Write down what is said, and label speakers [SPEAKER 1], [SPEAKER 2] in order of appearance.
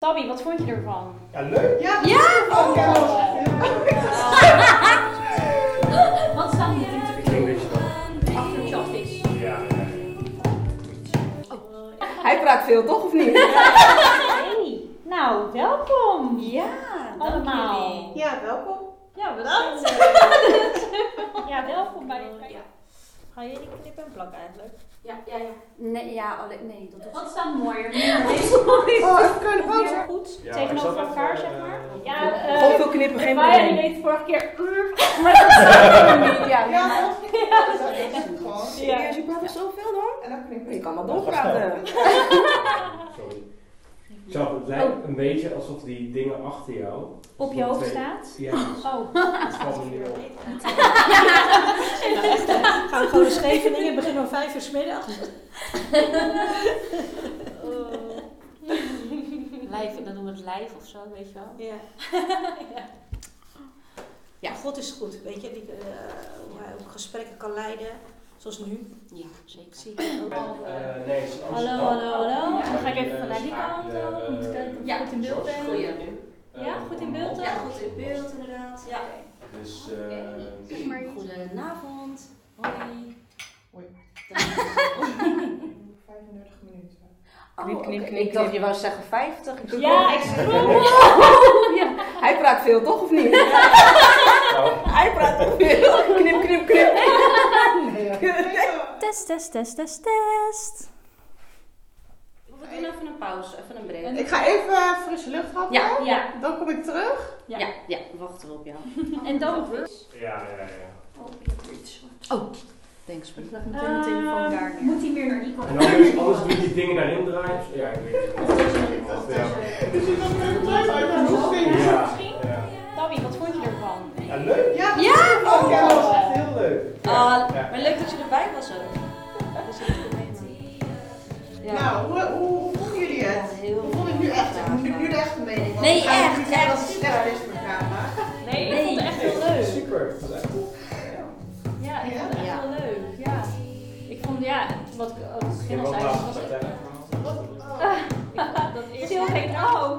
[SPEAKER 1] Tabby, wat vond je ervan?
[SPEAKER 2] Ja, leuk.
[SPEAKER 3] Ja,
[SPEAKER 1] Ja!
[SPEAKER 3] Oh, ja.
[SPEAKER 1] Wat staat hier?
[SPEAKER 2] Ik denk dat je dat...
[SPEAKER 1] Achterkant is.
[SPEAKER 2] Ja,
[SPEAKER 3] Hij praat veel, toch of niet?
[SPEAKER 1] Hey, nou, welkom
[SPEAKER 4] Ja,
[SPEAKER 1] allemaal.
[SPEAKER 3] Ja, welkom.
[SPEAKER 1] Ja, bedankt. ja, welkom bij dit. Ga je die knip en plak eigenlijk?
[SPEAKER 4] Ja, ja, ja. Nee, ja, alleen, nee, dat is...
[SPEAKER 1] Wat staat mooier?
[SPEAKER 3] Oh, even kunnen
[SPEAKER 1] Heel goed
[SPEAKER 2] Ja, ik zat
[SPEAKER 1] tegenover
[SPEAKER 2] even,
[SPEAKER 1] elkaar,
[SPEAKER 2] eh,
[SPEAKER 1] zeg maar.
[SPEAKER 2] op-
[SPEAKER 1] Ja, eh,
[SPEAKER 3] Gewoon veel knippen, geen
[SPEAKER 1] Maya die
[SPEAKER 3] probleem.
[SPEAKER 1] deed vorige keer.
[SPEAKER 4] Maar dat is niet, ja.
[SPEAKER 3] Ja,
[SPEAKER 4] maar-
[SPEAKER 3] dat is het gewoon.
[SPEAKER 1] Ja.
[SPEAKER 3] Serieus, je praat er zoveel door. En dan knippen. Je kan wel
[SPEAKER 2] doorpraten.
[SPEAKER 3] doorpraten.
[SPEAKER 2] sorry. Jacques, het lijkt een beetje alsof die dingen achter jou...
[SPEAKER 1] Op je hoofd staat.
[SPEAKER 2] Ja,
[SPEAKER 1] Oh,
[SPEAKER 2] dat valt me niet op.
[SPEAKER 5] Gaan we gewoon naar Scheveningen, beginnen om vijf uur 's middags.
[SPEAKER 4] Lijf, dan doen we het lijf of zo, weet je wel.
[SPEAKER 5] Ja.
[SPEAKER 4] Ja.
[SPEAKER 5] God is goed, weet je, die, eh, hoe hij ook gesprekken kan leiden, zoals nu.
[SPEAKER 4] Ja, zeker.
[SPEAKER 5] Zie ik ook.
[SPEAKER 2] En, eh, nee, het is Amsterdam.
[SPEAKER 1] hallo, hallo, hallo. Dan ga ik
[SPEAKER 2] Maar
[SPEAKER 1] even vanuit die
[SPEAKER 2] schaak,
[SPEAKER 1] kant
[SPEAKER 2] eh,
[SPEAKER 1] op. Om te kijken of ik
[SPEAKER 4] Ja,
[SPEAKER 1] goed in beeld ben.
[SPEAKER 4] nu.
[SPEAKER 2] eh,
[SPEAKER 1] Ja, goed in beeld, hè?
[SPEAKER 4] Ja, goed in beeld inderdaad. Ja.
[SPEAKER 2] Dus, eh
[SPEAKER 4] Goedenavond. Hoi.
[SPEAKER 3] Hoi.
[SPEAKER 4] Dan-
[SPEAKER 3] 35 minuten.
[SPEAKER 4] Oh,
[SPEAKER 3] Knip, knip,
[SPEAKER 4] oké.
[SPEAKER 3] knip,
[SPEAKER 4] Ik dacht,
[SPEAKER 3] knip.
[SPEAKER 4] je wou zeggen 50. Ik doe
[SPEAKER 1] Ja,
[SPEAKER 4] het
[SPEAKER 1] ik
[SPEAKER 4] wel.
[SPEAKER 1] scroll.
[SPEAKER 3] Hij praat veel, toch of niet?
[SPEAKER 2] nou,
[SPEAKER 3] Hij praat toch veel. Knip, knip, knip.
[SPEAKER 4] Test, test, test, test, test.
[SPEAKER 1] We doen even een pauze, even een break.
[SPEAKER 3] Ik ga even eh, frisse lucht happen.
[SPEAKER 4] Ja, ja,
[SPEAKER 1] Ja,
[SPEAKER 3] Dan kom ik terug.
[SPEAKER 4] ja, ja, we wachten op jou.
[SPEAKER 1] en dan nog iets.
[SPEAKER 2] ja, ja, ja.
[SPEAKER 4] Oh, Thanks. Ehm,
[SPEAKER 1] Eh, Moet hij weer naar Nico?
[SPEAKER 2] En anders, anders doe je die dingen daarin draaien. Ja, ik weet het niet. Ja,
[SPEAKER 3] Dus je kan even terug uit mijn hoofd
[SPEAKER 2] ja. ja.
[SPEAKER 1] Tabby, wat vond je ervan?
[SPEAKER 2] Ja, leuk.
[SPEAKER 3] Ja, oh, ja.
[SPEAKER 2] dat was echt heel leuk.
[SPEAKER 4] Ah,
[SPEAKER 2] Ja.
[SPEAKER 4] maar leuk dat je erbij was ook. Dus ik wil weten. Ja.
[SPEAKER 3] Nou, hoe, hoe, hoe vonden jullie
[SPEAKER 4] Ja,
[SPEAKER 3] het?
[SPEAKER 4] heel
[SPEAKER 3] Hoe vond ik nu echt, nu, nu de echte mening? Want
[SPEAKER 4] Nee,
[SPEAKER 3] ik ga
[SPEAKER 4] echt,
[SPEAKER 3] niet zeggen dat het
[SPEAKER 4] echt,
[SPEAKER 3] slecht is voor de camera.
[SPEAKER 1] Nee, ik
[SPEAKER 4] Nee.
[SPEAKER 1] vond het echt heel leuk.
[SPEAKER 2] Super. Dat was echt goed. Ja.
[SPEAKER 1] Ja, ik vond het echt
[SPEAKER 4] Ja.
[SPEAKER 1] heel leuk. Ja. Ik vond, ja, wat ik ook
[SPEAKER 2] Je
[SPEAKER 1] begin
[SPEAKER 2] hebt
[SPEAKER 1] al
[SPEAKER 2] ook
[SPEAKER 1] zei,
[SPEAKER 2] laatste
[SPEAKER 1] was
[SPEAKER 2] partij.
[SPEAKER 3] Wat? Oh.
[SPEAKER 4] Oh,
[SPEAKER 1] dat eerste... Stil, ik ook.